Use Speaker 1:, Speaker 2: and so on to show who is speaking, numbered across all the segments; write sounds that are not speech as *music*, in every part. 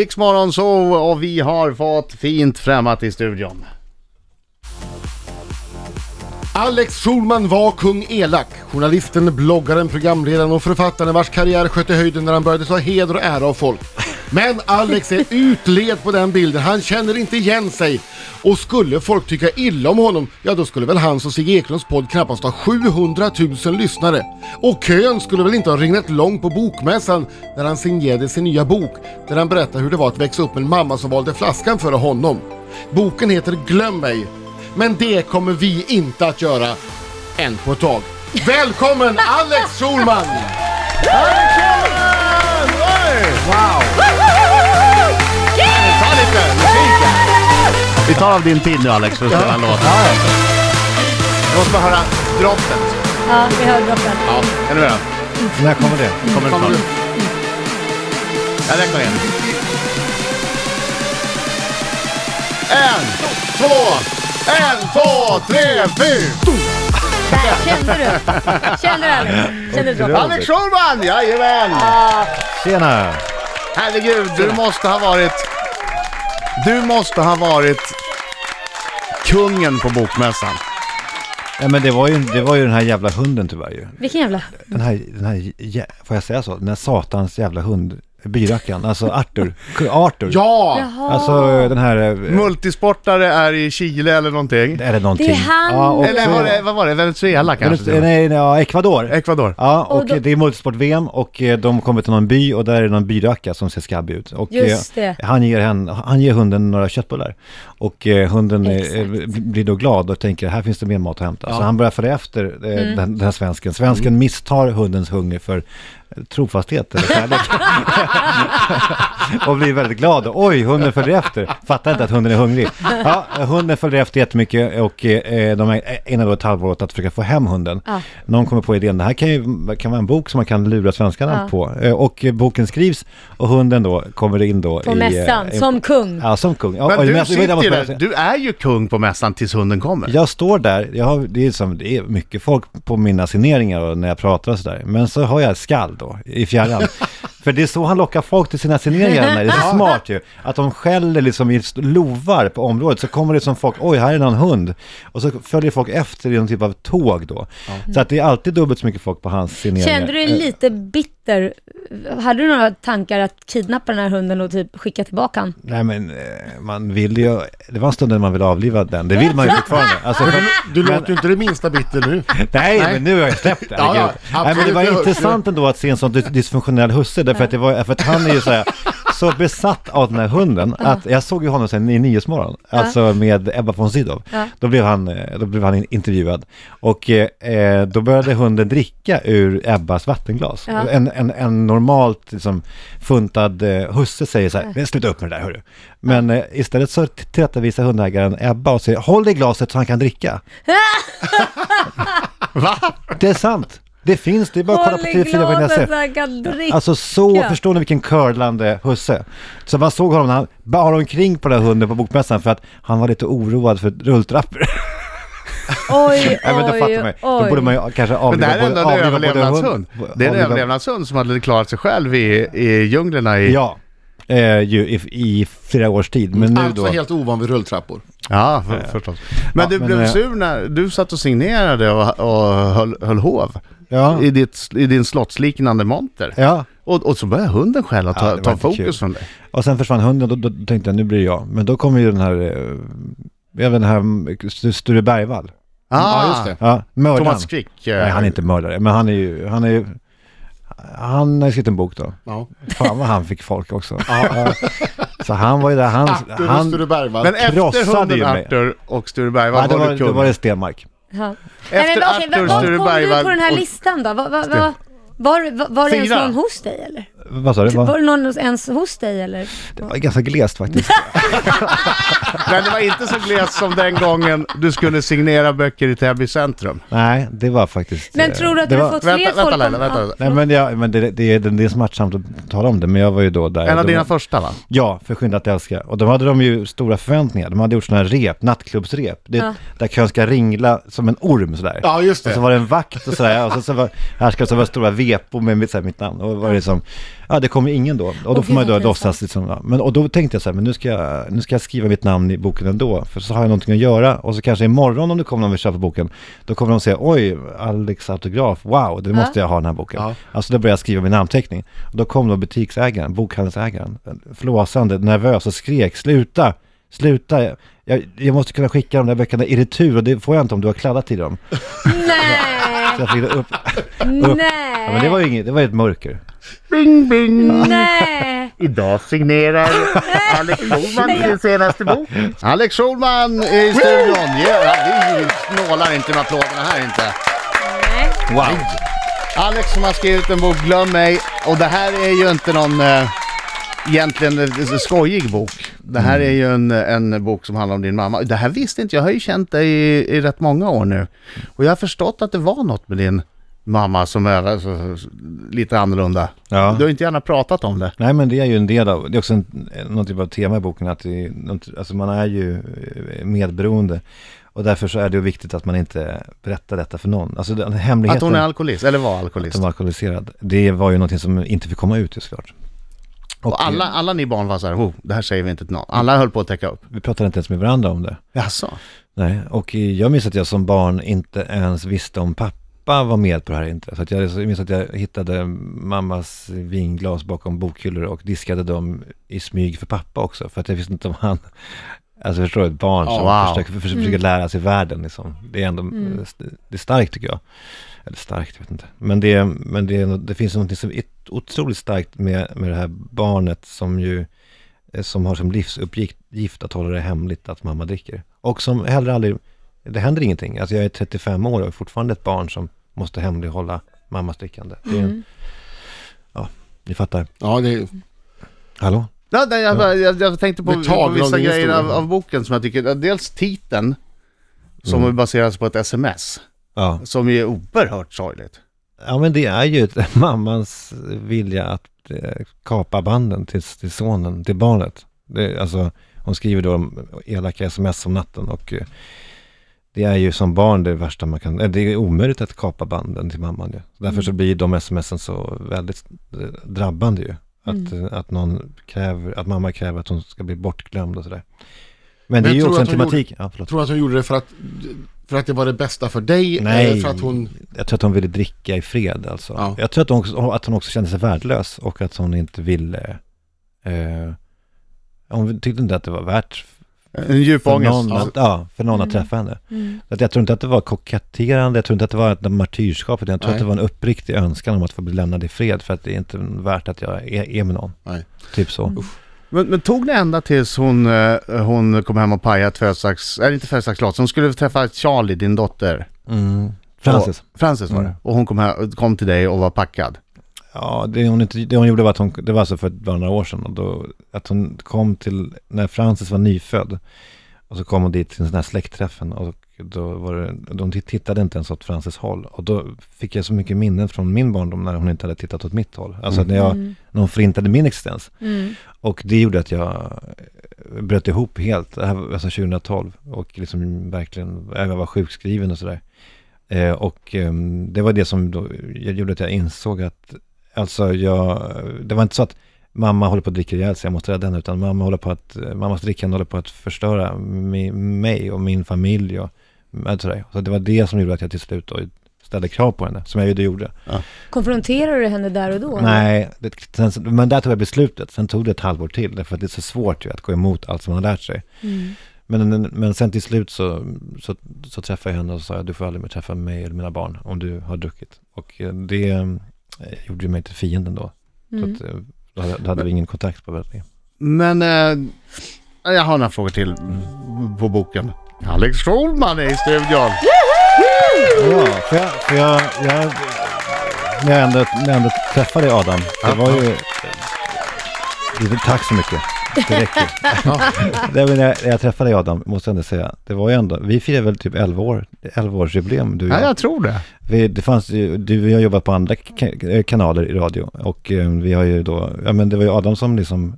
Speaker 1: Riksmorgon så och vi har fått fint främmat i studion.
Speaker 2: Alex Schulman var kung elak. Journalisten, bloggaren, programledaren och författaren vars karriär sköt i höjden när han började ta heder och ära av folk. Men Alex är utled på den bilden, han känner inte igen sig. Och skulle folk tycka illa om honom, ja då skulle väl hans och Sigge Eklunds podd knappast ha 700 000 lyssnare. Och kön skulle väl inte ha regnat lång på bokmässan när han signerade sin nya bok, där han berättar hur det var att växa upp med en mamma som valde flaskan före honom. Boken heter Glöm mig men det kommer vi inte att göra än på ett tag. Välkommen Alex Schulman!
Speaker 1: Wow! Ta lite musik Vi tar av din tid nu Alex för att spela en låt. Jag måste bara höra droppet.
Speaker 3: Ja, vi hör droppen.
Speaker 1: Ja, är ni med
Speaker 4: När kommer det?
Speaker 1: Kommer det snart?
Speaker 2: Kommer
Speaker 1: Jag räknar igen.
Speaker 2: En, två, en, två, tre, fyra!
Speaker 3: Där kände du. Kände du Alex? Kände du droppen?
Speaker 1: Alex Schulman! Jajamän!
Speaker 4: Tjena!
Speaker 1: Herregud, du måste ha varit... Du måste ha varit kungen på bokmässan.
Speaker 4: Ja, men det var, ju, det var ju den här jävla hunden tyvärr ju.
Speaker 3: Vilken jävla...
Speaker 4: Den här, den här, jä- får jag säga så? Den här satans jävla hund, byrackan, alltså Arthur. Kung Arthur.
Speaker 2: Ja!
Speaker 3: Jaha.
Speaker 4: Alltså den här... eh,
Speaker 1: Multisportare är i Chile eller någonting.
Speaker 4: Är det någonting?
Speaker 3: Det är han.
Speaker 4: och
Speaker 1: Eller
Speaker 4: så-
Speaker 1: var det, vad var det? Venezuela kanske? till och
Speaker 4: Nej,
Speaker 1: med.
Speaker 4: nej, nej, ja, Ecuador.
Speaker 1: Ecuador.
Speaker 4: Ja, och,
Speaker 3: Och då-
Speaker 4: eh, det är multisport-VM och eh, de kommer till någon by och där är det någon byracka som ser skabbig ut. Och eh,
Speaker 3: Just det.
Speaker 4: Han, ger henne, han ger hunden några köttbullar. Och eh, hunden eh,
Speaker 3: Exakt.
Speaker 4: bl- blir då glad och tänker här finns det mer mat att hämta. Så han börjar följa efter eh,
Speaker 3: Mm.
Speaker 4: den, den här svensken. Svensken misstar hundens hunger för eh, trofasthet eller kärlek. och blir väldigt glad. Oj, hunden följer efter. Fattar inte att hunden är hungrig. Ja, hunden följer efter jättemycket och eh, de ägnar då ett halvår åt att försöka få hem hunden.
Speaker 3: Ja.
Speaker 4: Någon kommer på idén, det här kan ju kan vara en bok som man kan lura svenskarna
Speaker 3: Ja.
Speaker 4: på. Eh, Och eh, boken skrivs och hunden då kommer in då
Speaker 3: På
Speaker 4: i... eh,
Speaker 3: mässan,
Speaker 4: i-
Speaker 3: som kung.
Speaker 4: Ja, som kung. Ja,
Speaker 1: Men
Speaker 4: och
Speaker 1: du
Speaker 4: mässan-
Speaker 1: sitter
Speaker 4: jag måste
Speaker 1: ju
Speaker 4: bara
Speaker 1: där.
Speaker 4: säga-
Speaker 1: Du är ju kung på mässan tills hunden kommer.
Speaker 4: jag står där, jag har, det, är som, det är mycket folk på mina signeringar och när jag pratar och sådär. Men så har jag skall då
Speaker 3: *laughs*
Speaker 4: i fjärran. För det är så han lockar folk till sina signeringar med. Det är så smart ju. Att de skäller liksom i st- lovar på området. Så kommer det som folk, oj här är någon hund. Och så följer folk efter i någon typ av tåg då. Så att det är alltid dubbelt så mycket folk på hans signeringar.
Speaker 3: Mm.
Speaker 4: Eh,
Speaker 3: Kände du dig lite bitter? Hade du några tankar att kidnappa den här hunden och typ skicka tillbaka han?
Speaker 4: Nej men eh, man vill ju, det var en stund när man ville avliva den, det vill man ju fortfarande. Alltså,
Speaker 3: *laughs*
Speaker 2: Du låter ju inte det minsta bitter nu.
Speaker 4: *laughs* nej, men nu har jag släppt det.
Speaker 2: Ja, ja,
Speaker 4: herregud. nej, men det
Speaker 2: absolut,
Speaker 4: var
Speaker 2: det hörs
Speaker 4: intressant ändå att se en sån dys- dysfunktionell husse, därför att, det var, för att han är ju så, här, så besatt av den här hunden, att jag såg ju honom sen i Nyhetsmorgon, alltså med Ebba von Sydow.
Speaker 3: Ja.
Speaker 4: Då, blev han, eh, då blev han in- intervjuad och eh, eh, då började hunden dricka ur Ebbas vattenglas.
Speaker 3: Ja.
Speaker 4: En, en, en normalt liksom, funtad eh, husse säger så här, "Men sluta upp med det där hörru. Men eh, istället så t- tillrättavisar hundägaren Ebba och säger, håll i glaset så han kan dricka.
Speaker 1: Va?
Speaker 4: Det är sant. Det finns, det är bara att kolla på
Speaker 3: Håll i glaset så
Speaker 4: TV4.se.
Speaker 3: han kan dricka.
Speaker 4: Alltså så,
Speaker 3: Ja.
Speaker 4: förstår ni vilken curlande husse. Så man såg honom när han bar omkring på den här hunden på bokmässan för att han var lite oroad för rulltrappor. *laughs*
Speaker 3: oj,
Speaker 4: Nej men då
Speaker 3: oj,
Speaker 4: fattar man ju. Då borde man ju kanske
Speaker 1: Men det här
Speaker 4: avliva
Speaker 1: är ändå
Speaker 4: både-
Speaker 1: en
Speaker 4: avliva både
Speaker 1: överlevnadshund.
Speaker 4: hund-
Speaker 1: Det är en
Speaker 4: avliva-
Speaker 1: överlevnadshund som hade klarat sig själv i, i djunglerna i...
Speaker 4: Ja, eh, ju, i, i flera års tid. Men nu
Speaker 2: Alltså
Speaker 4: då.
Speaker 2: helt ovan vid rulltrappor.
Speaker 1: Ja, för, förstås. Men
Speaker 4: Ja,
Speaker 1: du
Speaker 4: men,
Speaker 1: blev
Speaker 4: eh,
Speaker 1: sur när du satt och signerade och, och höll, höll hov
Speaker 4: Ja.
Speaker 1: i, ditt, i din slottsliknande monter.
Speaker 4: Ja,
Speaker 1: Och, och så börjar hunden själv att
Speaker 4: Ja,
Speaker 1: ta,
Speaker 4: det var
Speaker 1: ta
Speaker 4: inte
Speaker 1: fokus
Speaker 4: kul.
Speaker 1: från dig.
Speaker 4: och sen försvann hunden då, då tänkte jag nu blir det jag. Men då kommer ju den här, eh, även den här St- Sture Bergvall.
Speaker 1: Ah.
Speaker 2: Ja, just det.
Speaker 4: Ja, mördaren.
Speaker 1: Thomas Quick. eh,
Speaker 4: Nej, han är inte mördare, men han är ju, han är ju, han har ju skrivit en bok då.
Speaker 2: Ja.
Speaker 4: Fan vad han fick folk också. Ja. Så han var ju där, han,
Speaker 1: Ah,
Speaker 2: Arthur och
Speaker 4: han,
Speaker 2: Sture Bergvall.
Speaker 1: Men efter
Speaker 4: krossade
Speaker 1: hunden
Speaker 4: ju mig.
Speaker 1: Arthur och Sture
Speaker 4: nej,
Speaker 1: Bergvall
Speaker 4: då
Speaker 1: var,
Speaker 4: var,
Speaker 1: du
Speaker 4: då
Speaker 1: kung.
Speaker 4: var det Stenmark.
Speaker 3: Ja. Nej,
Speaker 1: Efter
Speaker 3: men okej,
Speaker 1: Arthur,
Speaker 3: vad- vad
Speaker 1: Sture
Speaker 3: kom du på den här
Speaker 1: Bergvall och
Speaker 3: listan då? Var, var, var, var, var, var det ens
Speaker 1: Fyra.
Speaker 3: någon hos dig eller?
Speaker 4: Vad sa du?
Speaker 3: Var
Speaker 4: Var,
Speaker 3: det någon ens hos dig
Speaker 4: *laughs*
Speaker 3: eller?
Speaker 4: det var ganska
Speaker 3: *laughs*
Speaker 4: glest faktiskt.
Speaker 1: Men det var inte så glest som den gången du skulle signera böcker i Täby centrum.
Speaker 4: nej, det var faktiskt...
Speaker 3: Men
Speaker 4: eh,
Speaker 3: tror du att
Speaker 4: det
Speaker 3: du
Speaker 4: var,
Speaker 3: har fått
Speaker 1: Vänta,
Speaker 3: fler
Speaker 1: vänta
Speaker 3: folk?
Speaker 1: Laila,
Speaker 3: om-
Speaker 1: vänta.
Speaker 3: ja.
Speaker 4: Nej men, jag, men det, det, är- det är smärtsamt att tala om det, men jag var ju då där.
Speaker 1: En av
Speaker 4: Det
Speaker 1: dina
Speaker 4: var-
Speaker 1: första va?
Speaker 4: Ja, för Skynda att älska. Och de hade de ju stora förväntningar. De hade gjort sådana här rep, nattklubbsrep. Det,
Speaker 3: Ja.
Speaker 4: Där kön ska ringla som en orm sådär.
Speaker 2: Ja,
Speaker 4: Alltså,
Speaker 2: just det.
Speaker 4: Och så var det en vakt och sådär. Och så, så var, här ska det vara stora vepor med mitt, så här, mitt namn. Och var det som, Ja, det kommer ingen då. Och då
Speaker 3: Åh,
Speaker 4: får man
Speaker 3: gud,
Speaker 4: ju då
Speaker 3: vad
Speaker 4: låtsas liksom, ja. Men och då tänkte jag så här, men nu ska jag, nu ska jag skriva mitt namn i boken ändå. För så har jag någonting att göra. Och så kanske imorgon om det kommer någon vill köpa boken, då kommer de säga, oj, Alex autograf, wow, det måste jag ha den här boken.
Speaker 2: Ja.
Speaker 4: Alltså då började jag skriva min namnteckning. Och då kom då butiksägaren, bokhandelsägaren, flåsande, nervös och skrek, sluta, sluta. Jag, jag måste kunna skicka de där böckerna i retur och det får jag inte om du har kladdat i dem.
Speaker 3: Nej,
Speaker 4: Så jag fick det upp.
Speaker 3: nej,
Speaker 4: Ja, men det var ju inget, det var ju ett mörker.
Speaker 5: Bing, bing.
Speaker 3: nej.
Speaker 5: Idag signerar Alex Schulman sin senaste bok.
Speaker 1: Alex Schulman är i studion. Yeah, vi snålar inte med applåderna här inte.
Speaker 4: Wow!
Speaker 1: Alex som har skrivit en bok, Glöm mig. Och det här är ju inte någon eh, egentligen eh, skojig bok. Det här är ju en, en bok som handlar om din mamma. Det här visste inte jag. Jag har ju känt dig i, i rätt många år nu. Och jag har förstått att det var något med din mamma som är alltså, lite annorlunda.
Speaker 4: Ja.
Speaker 1: Du har inte gärna pratat om det.
Speaker 4: Nej men det är ju en del av, det är också en, någon typ av tema i boken att det, är någon ty- alltså man är ju eh, medberoende. Och därför så är det ju viktigt att man inte berättar detta för någon. Alltså den hemligheten
Speaker 1: Att hon är alkoholist, eller var
Speaker 4: att
Speaker 1: alkoholist.
Speaker 4: hon var alkoholiserad, det var ju någonting som inte fick komma ut ju såklart.
Speaker 1: Och alla, alla ni barn var så här, oh, det här säger vi inte till någon. Alla höll på att täcka upp.
Speaker 4: Vi pratade inte ens med varandra om det.
Speaker 1: Jaså?
Speaker 4: Nej, och jag minns att jag som barn inte ens visste om pappa var med på det här inte. Så att jag jag minns att jag hittade mammas vinglas bakom bokhyllor och diskade dem i smyg för pappa också. För att jag visste inte om han, alltså förstår du, ett barn som
Speaker 1: Ja, wow.
Speaker 4: försöker, för, försöker lära sig världen liksom. Det är ändå, det är starkt tycker jag. Eller starkt, jag vet inte. Men det, men det, är nå- det finns något som är otroligt starkt med, med det här barnet som ju eh, som har som livsuppgift gift att hålla det hemligt att mamma dricker. Och som heller aldrig, det händer ingenting. Alltså jag är 35 år och är fortfarande ett barn som måste hemlighålla mammas drickande. Det är en, ja, ni fattar.
Speaker 2: Ja, det är
Speaker 4: Hallå?
Speaker 1: Ja, nej, jag, bara- jag, jag tänkte på, på
Speaker 2: Betagen av
Speaker 1: vissa
Speaker 2: din
Speaker 1: grejer
Speaker 2: historia.
Speaker 1: av, av boken som jag tycker, dels titeln som
Speaker 4: Mm.
Speaker 1: baseras på ett sms,
Speaker 4: Ja.
Speaker 1: som är oerhört sorgligt.
Speaker 4: ja, men det är ju ett- *laughs* mammans vilja att eh, kapa banden till, till sonen, till barnet. Det, alltså, hon skriver då om elaka sms om natten och eh, det är ju som barn det värsta man kan, eh, det är omöjligt att kapa banden till mamman ju. Därför
Speaker 2: Mm.
Speaker 4: så blir de smsen så väldigt eh, drabbande ju. Att,
Speaker 2: Mm.
Speaker 4: eh, att någon kräver, att mamma kräver att hon ska bli bortglömd och sådär. Men det
Speaker 2: jag
Speaker 4: är ju
Speaker 2: tror
Speaker 4: också en
Speaker 2: att hon gjorde-
Speaker 4: tematik. Ja, förlåt.
Speaker 2: Tror du att hon gjorde det för att, för att det var det bästa för dig?
Speaker 4: Nej.
Speaker 2: Eller för att hon...
Speaker 4: Jag tror att hon ville dricka i fred alltså.
Speaker 2: Ja.
Speaker 4: Jag tror att hon, också, att hon också kände sig värdelös och att hon inte ville... Eh, hon tyckte inte att det var värt
Speaker 1: En djup
Speaker 4: för
Speaker 1: ångest.
Speaker 4: någon, att, ja, för någon att träffa henne.
Speaker 3: Mm.
Speaker 4: Så Att jag tror inte att det var koketterande, jag tror inte att det var ett martyrskap, utan jag tror
Speaker 2: Nej.
Speaker 4: att det var en uppriktig önskan om att få bli lämnad i fred för att det är inte värt att jag är, är med någon.
Speaker 2: Nej.
Speaker 4: Typ så.
Speaker 1: Men, men tog det ända tills hon, eh, hon kom hem och pajade Tvösax, eller inte Tvösaxlotts, hon skulle träffa Charlie, din dotter.
Speaker 4: Mm. Frances.
Speaker 1: Och, Frances var det.
Speaker 4: Mm.
Speaker 1: Och hon kom, här, kom till dig och var packad.
Speaker 4: Ja, det hon, inte, det hon gjorde var att hon, det var alltså för ett- bara några år sedan, och då, att hon kom till, när Frances var nyfödd, och så kom hon dit till den här släktträffen och då var det, de tittade inte ens åt Frances håll. Och då fick jag så mycket minnen från min barndom när hon inte hade tittat åt mitt håll. Alltså att när, jag, när hon förintade min existens.
Speaker 3: Mm.
Speaker 4: Och det gjorde att jag eh, bröt ihop helt, det här var alltså 2012. Och liksom verkligen, jag var sjukskriven och sådär. Eh, och ehm, det var det som då jag gjorde att jag insåg att, alltså jag, det var inte så att mamma håller på att dricka ihjäl sig, jag måste rädda henne, utan mamma håller på att, mammas drickande håller på att förstöra mi, mig och min familj och eh, sådär. Så det var det som gjorde att jag till slut då ställde krav på henne, som jag ju då gjorde.
Speaker 3: Konfronterar du henne där och då?
Speaker 4: Nej, det, sen, men där tog jag beslutet. Sen tog det ett halvår till, därför att det är så svårt ju att gå emot allt som man har lärt sig.
Speaker 3: Mm.
Speaker 4: Men, men sen till slut så, så, så träffade jag henne och sa att du får aldrig mer träffa mig eller mina barn om du har druckit. Och eh, det eh, gjorde ju mig till fienden då.
Speaker 3: Mm.
Speaker 4: Så att, eh, då hade, då hade vi ingen kontakt på väldigt länge.
Speaker 1: Men eh, jag har några frågor till på boken. Alex Schulman är i studion.
Speaker 4: Ja, för jag, för jag, jag när, jag ändå, när jag ändå träffade dig Adam, det var ju... Det, tack så mycket. Det räcker. Nej, men när, jag, när jag träffade dig Adam, måste jag ändå säga, det var ju ändå, vi firade väl typ 11 år, 11-årsjubileum du och
Speaker 1: Ja,
Speaker 4: jag.
Speaker 1: jag tror det.
Speaker 4: Vi, det fanns ju, du och jag har jobbat på andra ka- kanaler i radio och eh, vi har ju då, ja men det var ju Adam som liksom,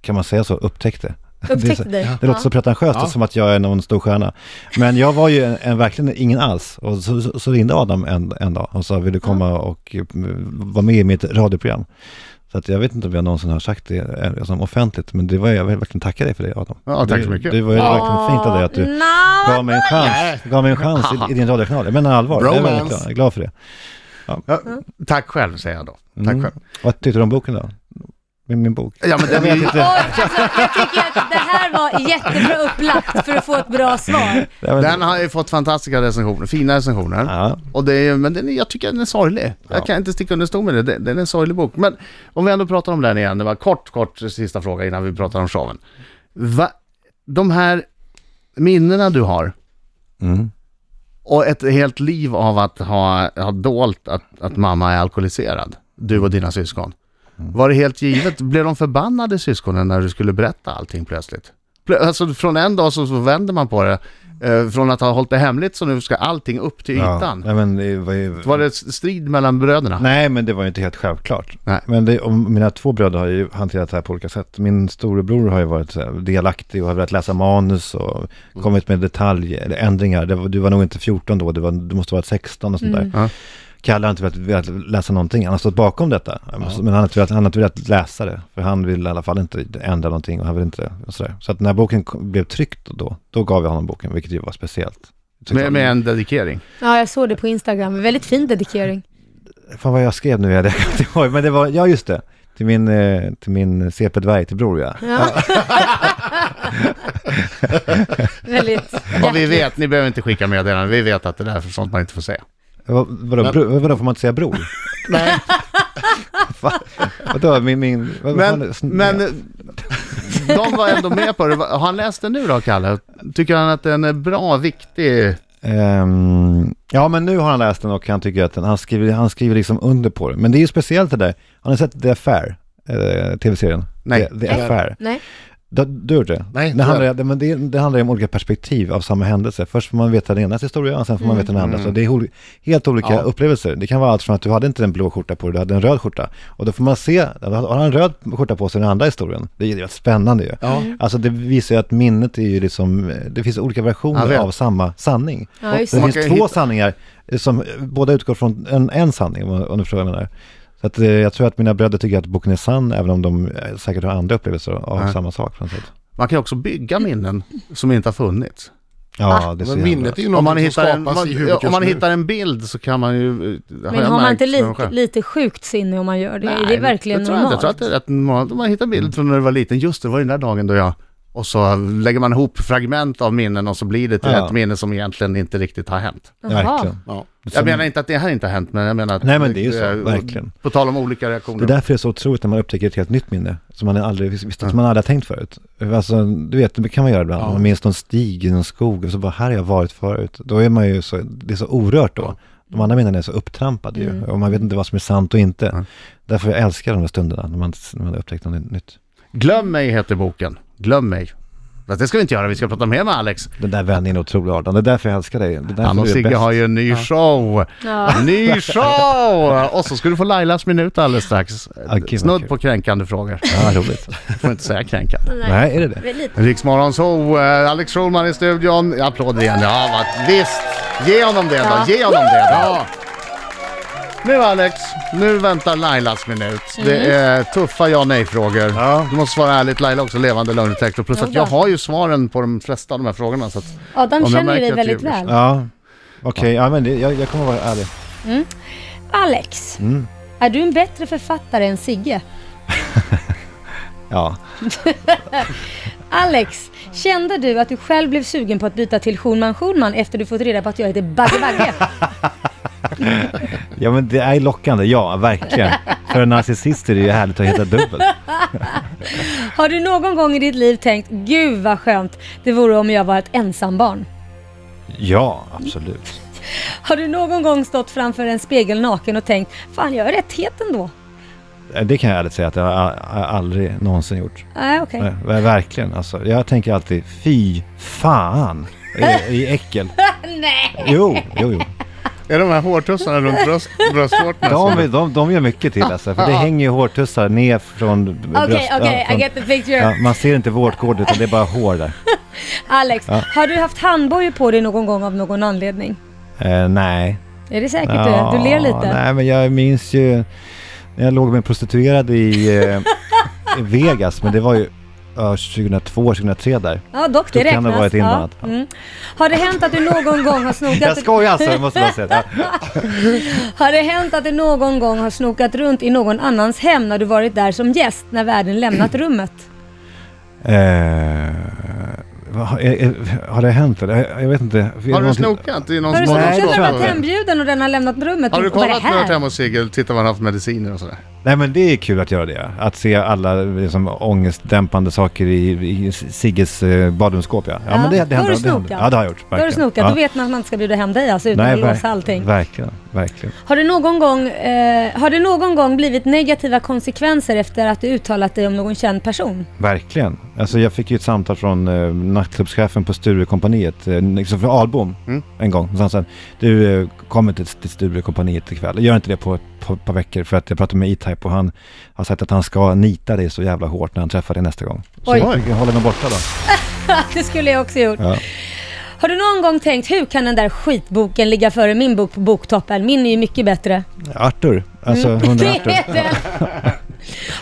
Speaker 4: kan man säga så, upptäckte. Det är så-
Speaker 3: Upptäckte dig?
Speaker 4: det låter så pretentiöst,
Speaker 2: Ja.
Speaker 4: som att jag är någon stor stjärna. Men jag var ju en, en, verkligen ingen alls. Och så, så, så ringde Adam en, en dag och sa, vill du komma och eh, vara med i mitt radioprogram? Så att jag vet inte om jag någonsin har sagt det eh, som offentligt, men det var, jag vill verkligen tacka dig för det Adam.
Speaker 1: Ja, tack så
Speaker 4: Det-
Speaker 1: mycket.
Speaker 4: Det var ju verkligen fint av dig att du
Speaker 3: Nå,
Speaker 4: gav mig en chans, gav mig en chans i, i din radiokanal. Jag menar allvar, jag är
Speaker 2: Bromance.
Speaker 4: väldigt glad, jag är glad för det.
Speaker 1: Ja, tack själv säger jag då. Tack
Speaker 4: Mm.
Speaker 1: själv.
Speaker 4: Vad tyckte du om boken då? Min, min bok? Mm.
Speaker 1: Ja, men den är ju...
Speaker 3: Oj, alltså, jag tycker att det här var jättebra upplagt för att få ett bra svar.
Speaker 4: Ja, men-
Speaker 1: Den har ju fått fantastiska recensioner, fina recensioner.
Speaker 4: Ja,
Speaker 1: Och det är, men den är, jag tycker den är sorglig.
Speaker 4: Ja.
Speaker 1: Jag kan inte sticka under stol med det. det. Den är en sorglig bok. Men om vi ändå pratar om den igen, det var kort, kort sista fråga innan vi pratar om showen. Va, de här minnena du har
Speaker 4: mm.
Speaker 1: och ett helt liv av att ha, ha dolt att, att mamma är alkoholiserad, du och dina syskon.
Speaker 4: Mm.
Speaker 1: Var det helt givet? Blev de förbannade syskonen när du skulle berätta allting plötsligt? Plö- Alltså från en dag så, så vänder man på det. Eh, från att ha hållit det hemligt så nu ska allting upp till
Speaker 4: ja.
Speaker 1: ytan.
Speaker 4: Nej, men det var ju...
Speaker 1: Var det strid mellan bröderna?
Speaker 4: Nej, men det var ju inte helt självklart.
Speaker 1: Nej.
Speaker 4: Men det, om, mina två bröder har ju hanterat det här på olika sätt. Min storebror har ju varit så här, delaktig och har velat läsa manus och
Speaker 1: Mm.
Speaker 4: kommit med detaljer eller ändringar. Det, var- du var nog inte 14 då, du, var, du måste ha varit 16 och sånt där.
Speaker 1: Ja.
Speaker 4: Kalle har inte velat, velat läsa någonting, han har stått bakom detta. Alltså, Men han har, inte velat, han har inte velat läsa det, för han vill i alla fall inte ändra någonting och han vill inte och sådär. Så att när boken kom- blev tryckt då, då gav jag honom boken, vilket ju var speciellt. Tyckte
Speaker 1: Med,
Speaker 4: han-
Speaker 1: med en dedikering.
Speaker 3: Ja, jag såg det på Instagram. Väldigt fin dedikering.
Speaker 4: Fan vad jag skrev nu, jag kommer inte ihåg, men det var, ja just det. Till min, eh, till min CP-dvärg, till bror ja.
Speaker 3: Ja. Väldigt
Speaker 1: Och vi vet, ni behöver inte skicka meddelanden, vi vet att det där är sånt man inte får säga.
Speaker 4: Vad- Vadå,
Speaker 2: Men-
Speaker 4: bro, vadå, får man inte säga bror? *laughs*
Speaker 2: Nej,
Speaker 4: Va? Vadå, min, min, vad,
Speaker 1: Men,
Speaker 4: vad fan-
Speaker 1: men *laughs* de var ändå med på det. Har han läst den nu då, Kalle? Tycker han att den är bra, viktig?
Speaker 4: Ehm, ja men nu har han läst den och han tycker att den, han skriver, han skriver liksom under på det. Men det är ju speciellt det där, har ni sett The Affair? Eh, TV-serien?
Speaker 1: Nej.
Speaker 4: The, The Affair.
Speaker 3: Nej.
Speaker 4: Du, du har gjort det?
Speaker 2: Nej,
Speaker 4: det
Speaker 2: tyvärr.
Speaker 4: handlar, det, men det, det handlar ju om olika perspektiv av samma händelse. Först får man veta den enas historia och sen får man veta den andra. Så det är hol- helt olika
Speaker 1: Ja.
Speaker 4: upplevelser. Det kan vara allt från att du hade inte en blå skjorta på dig, du hade en röd skjorta. Och då får man se, har han en röd skjorta på sig i den andra historien? Det är ju spännande ju.
Speaker 2: Ja.
Speaker 4: Alltså det visar ju att minnet är ju liksom, det finns olika
Speaker 1: Jag
Speaker 4: versioner
Speaker 1: vet.
Speaker 4: av samma sanning.
Speaker 3: Ja, just
Speaker 4: det
Speaker 3: det.
Speaker 1: Man
Speaker 4: finns
Speaker 1: kan ju
Speaker 4: två
Speaker 1: hitta-
Speaker 4: sanningar eh, som eh, båda utgår från en, en sanning, om, om du förstår vad jag menar. Så att, eh, jag tror att mina bröder tycker att boken är sann, även om de eh, säkert har andra upplevelser av
Speaker 1: Ja.
Speaker 4: samma sak. På något sätt.
Speaker 1: Man kan ju också bygga minnen som inte har funnits.
Speaker 3: Ah.
Speaker 4: Ja, det är så
Speaker 2: men
Speaker 4: jävla-
Speaker 2: minnet är ju
Speaker 1: Om man,
Speaker 2: någonting som
Speaker 1: hittar en,
Speaker 2: skapas
Speaker 1: man,
Speaker 2: i
Speaker 1: ja,
Speaker 2: huvudet
Speaker 1: om
Speaker 2: just
Speaker 1: man
Speaker 2: nu.
Speaker 1: hittar en bild så kan man ju...
Speaker 3: Men har man inte
Speaker 1: lite
Speaker 3: lite, lite sjukt sinne om man gör det? är det
Speaker 1: Nej,
Speaker 3: verkligen
Speaker 1: det tror jag inte.
Speaker 3: normalt?
Speaker 1: Jag tror att det är rätt normalt. Om man hittar bild från när du var liten, just det, det var den där dagen då jag... Och så lägger man ihop fragment av minnen och så blir det till
Speaker 4: Ja.
Speaker 1: ett minne som egentligen inte riktigt har hänt.
Speaker 3: Jaha.
Speaker 4: Verkligen.
Speaker 2: Ja.
Speaker 1: Jag menar inte att det här inte har hänt, men jag menar att...
Speaker 4: Nej, men det är ju så, verkligen.
Speaker 1: På tal om olika
Speaker 4: Det
Speaker 1: reaktioner.
Speaker 4: är därför det är så otroligt när man upptäcker ett helt nytt minne som man aldrig visste, visste- som man aldrig har tänkt förut. Alltså, du vet, det kan man göra ibland. Man minns någon stig i någon skog och så bara, här har jag varit förut. Då är man ju så, det är så orört då. De andra minnena är så upptrampade
Speaker 3: Mm.
Speaker 4: ju och man vet inte vad som är sant och inte. Därför jag älskar de där stunderna när man, när man har upptäckt något nytt.
Speaker 1: Glöm mig heter boken. Glöm mig. Fast det ska vi inte göra, vi ska prata mer med Alex.
Speaker 4: Den där vändningen är otrolig, Adam. Det är därför jag älskar dig. Det är därför
Speaker 1: Han och
Speaker 4: du är
Speaker 1: Sigge
Speaker 4: bäst.
Speaker 1: har ju en ny show.
Speaker 3: Ja.
Speaker 1: Ny show! Och så ska du få Lailas minut alldeles strax.
Speaker 4: gud, vad
Speaker 1: Snudd
Speaker 4: kul.
Speaker 1: på kränkande frågor.
Speaker 4: Ja,
Speaker 3: *laughs*
Speaker 4: roligt.
Speaker 1: Får inte säga kränkande.
Speaker 4: Nej, är det det?
Speaker 3: Men lite.
Speaker 1: Riksmorgon så eh, Alex Schulman i studion. Applåder igen. Ja, vad, visst. Ge honom det
Speaker 3: Ja.
Speaker 1: då. Ge honom det. Ja. Nu Alex, nu väntar Lailas minut. Det är tuffa ja nej-frågor.
Speaker 4: Ja.
Speaker 1: Du måste svara ärligt. Laila är också levande lögndetektor. Plus att
Speaker 3: Jodå.
Speaker 1: jag har ju svaren på de flesta av de här frågorna. Så att, Om
Speaker 3: Adam
Speaker 1: jag
Speaker 3: känner
Speaker 1: märker
Speaker 3: ju dig
Speaker 1: att
Speaker 3: väldigt
Speaker 1: jag-
Speaker 3: väl.
Speaker 4: Ja, okej. Ja, men det, jag, jag kommer vara ärlig.
Speaker 3: Alex, är du en bättre författare än Sigge?
Speaker 4: Ja.
Speaker 3: Alex, kände du att du själv blev sugen på att byta till Schulman Schulman efter du fått reda på att jag heter Bagge
Speaker 4: *laughs*
Speaker 3: Bagge?
Speaker 4: Ja men det är lockande,
Speaker 3: *laughs*
Speaker 4: ja verkligen. För en narcissist är det ju härligt att hitta dubbelt.
Speaker 3: Har du någon gång i ditt liv tänkt Gud vad skönt det vore om jag var ett ensambarn?
Speaker 4: Ja, absolut.
Speaker 3: Har du någon gång stått framför en spegel naken och tänkt Fan jag är rätt het ändå?
Speaker 4: Det kan jag ärligt säga att jag har a- aldrig någonsin gjort.
Speaker 3: Nej okej.
Speaker 4: Nej, ver- Verkligen alltså. Jag tänker alltid, fy fan i, i äckel.
Speaker 3: Nej!
Speaker 4: Jo,
Speaker 3: *laughs*
Speaker 4: jo, jo.
Speaker 1: är de här hårtussarna runt *laughs* bröst, bröstvårtorna?
Speaker 4: De,
Speaker 1: som-
Speaker 4: är- de, de gör mycket till alltså. För det hänger ju hårtussar ner från b- bröst.
Speaker 3: Okej,
Speaker 4: ja,
Speaker 3: okej, I
Speaker 4: från-
Speaker 3: get the picture.
Speaker 4: Ja, man ser inte vårtgård utan det är bara hår där.
Speaker 3: Alex, har du haft handbojor på dig någon gång av någon anledning?
Speaker 4: *laughs* Eh, nej,
Speaker 3: Är det säkert eh, du? Du ler lite?
Speaker 4: Nej, men jag minns ju när jag låg med en prostituerad i eh, i Vegas, men det var ju ja, 2002, 2003 där.
Speaker 3: Ja, dock det
Speaker 4: Då kan det
Speaker 3: räknas.
Speaker 4: ha varit
Speaker 3: ja.
Speaker 4: inblandat.
Speaker 3: mm. Har det hänt att du någon gång har snokat...
Speaker 4: *laughs* Jag skojar alltså, jag måste bara
Speaker 3: *laughs*
Speaker 4: säga. det. Ja.
Speaker 3: Har det hänt att du någon gång har snokat runt i någon annans hem när du varit där som gäst när värden lämnat rummet?
Speaker 4: Eh, vad har- eh, eh, har det hänt? eller? Jag, jag vet inte.
Speaker 1: Har du
Speaker 4: Någonting-
Speaker 1: snokat i någon
Speaker 3: Har du
Speaker 1: som har något
Speaker 3: snokat när
Speaker 4: Nej, det tror
Speaker 3: du
Speaker 4: jag
Speaker 3: varit
Speaker 4: inte.
Speaker 3: hembruden och den har lämnat rummet?
Speaker 1: Har du
Speaker 3: Vad är
Speaker 1: kollat
Speaker 3: det
Speaker 1: när du
Speaker 3: här?
Speaker 1: har varit hemma hos Sigge? Tittar vad han har haft mediciner och sådär?
Speaker 4: Nej men det är kul att göra det. Att se alla liksom, ångestdämpande saker i, i Sigges eh, badrumsskåp ja. Ja,
Speaker 3: Ja,
Speaker 4: men det, det
Speaker 3: då har
Speaker 4: händer.
Speaker 3: du
Speaker 4: det händer.
Speaker 3: snokat.
Speaker 4: Ja det har jag gjort.
Speaker 3: Då har du snokat,
Speaker 4: ja.
Speaker 3: då vet man att man inte ska bjuda hem dig alltså utan
Speaker 4: Nej,
Speaker 3: att låsa
Speaker 4: ver-
Speaker 3: allting.
Speaker 4: Verkligen, verkligen.
Speaker 3: Har det, någon gång, eh, har det någon gång blivit negativa konsekvenser efter att du uttalat dig om någon känd person? *laughs*
Speaker 4: Verkligen. Alltså jag fick ju ett samtal från eh, nattklubbschefen på Sturecompagniet, eh, liksom från Ahlbom,
Speaker 1: Mm.
Speaker 4: en gång. Och sen sen, du eh, kommer inte till Sturecompagniet ikväll. Gör inte det på ett par, par veckor för att jag pratade med E-Type och han har sagt att han ska nita dig så jävla hårt när han träffar dig nästa gång. Så
Speaker 3: Oj.
Speaker 4: jag fick hålla mig borta då.
Speaker 3: det skulle jag också gjort.
Speaker 4: Ja.
Speaker 3: Har du någon gång tänkt, hur kan den där skitboken ligga före min bok på Boktoppen? Min är ju mycket bättre.
Speaker 4: Arthur, alltså hunden
Speaker 3: Mm. *laughs* Det
Speaker 4: Arthur.
Speaker 3: är det.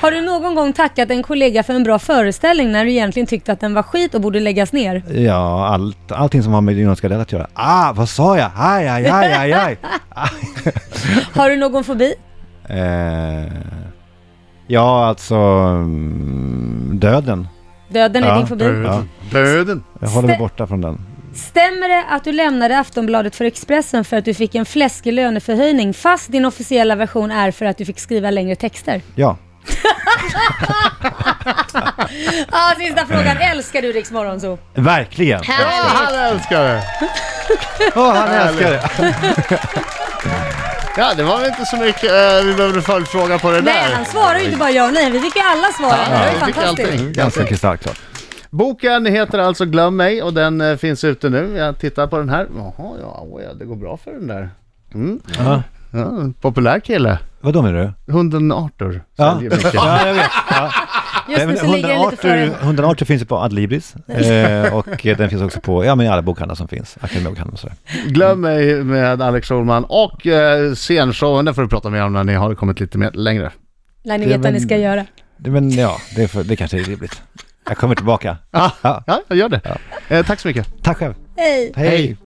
Speaker 3: Har du någon gång tackat en kollega för en bra föreställning när du egentligen tyckte att den var skit och borde läggas ner?
Speaker 4: Ja, allt, allting som har med Jonas Gardell att göra. Ah, vad sa jag? Aj, aj, aj, aj, aj.
Speaker 3: Har du någon fobi?
Speaker 4: eh, ja, alltså mm, döden.
Speaker 3: Döden är
Speaker 4: Ja,
Speaker 3: din fobi.
Speaker 1: Döden. Döden.
Speaker 4: Jag håller mig
Speaker 3: Stä-
Speaker 4: borta från den.
Speaker 3: Stämmer det att du lämnade Aftonbladet för Expressen för att du fick en fläskig löneförhöjning fast din officiella version är för att du fick skriva längre texter?
Speaker 4: Ja,
Speaker 3: Ah, sista frågan. Älskar du Riks Morgonzoo?
Speaker 4: verkligen.
Speaker 3: *laughs*
Speaker 1: Ja, han älskar det!
Speaker 4: Åh, han älskar det.
Speaker 1: Ja, det var väl inte så mycket eh, vi behövde följdfråga på det där.
Speaker 3: Nej, han svarar ju inte bara ja och nej. Vi fick ju alla svar. det var ju
Speaker 1: vi fick
Speaker 3: fantastiskt.
Speaker 1: allting.
Speaker 4: Ganska kristallklart.
Speaker 1: Boken heter alltså Glöm mig och den eh, finns ute nu. Jag tittar på den här. Jaha, ja, oj, ja, det går bra för den där. Mm.
Speaker 4: Ja.
Speaker 1: Ja, populär kille.
Speaker 4: Vadå menar du?
Speaker 1: Hunden Arthur
Speaker 4: Ja.
Speaker 1: säljer mycket.
Speaker 4: Ja, jag vet. Ja.
Speaker 3: Just nu så ligger den lite före.
Speaker 4: 118 finns ju på Adlibris eh, och eh, den finns också på ja, men i alla bokhandlar som finns, Akademibokhandeln och sådär.
Speaker 1: Glöm mig med Alex Schulman och eh, scenshowen. Där får vi prata mer om när ni har kommit lite mer, längre.
Speaker 3: När ni
Speaker 4: Ja,
Speaker 3: vet vad ni
Speaker 4: men-
Speaker 3: ska göra.
Speaker 4: Det- Men ja, det, är för, det kanske är rimligt. Jag kommer tillbaka.
Speaker 1: Ja,
Speaker 4: Ja.
Speaker 1: ja jag gör det. Eh, tack så mycket.
Speaker 4: Tack själv.
Speaker 3: Hej!
Speaker 4: Hej.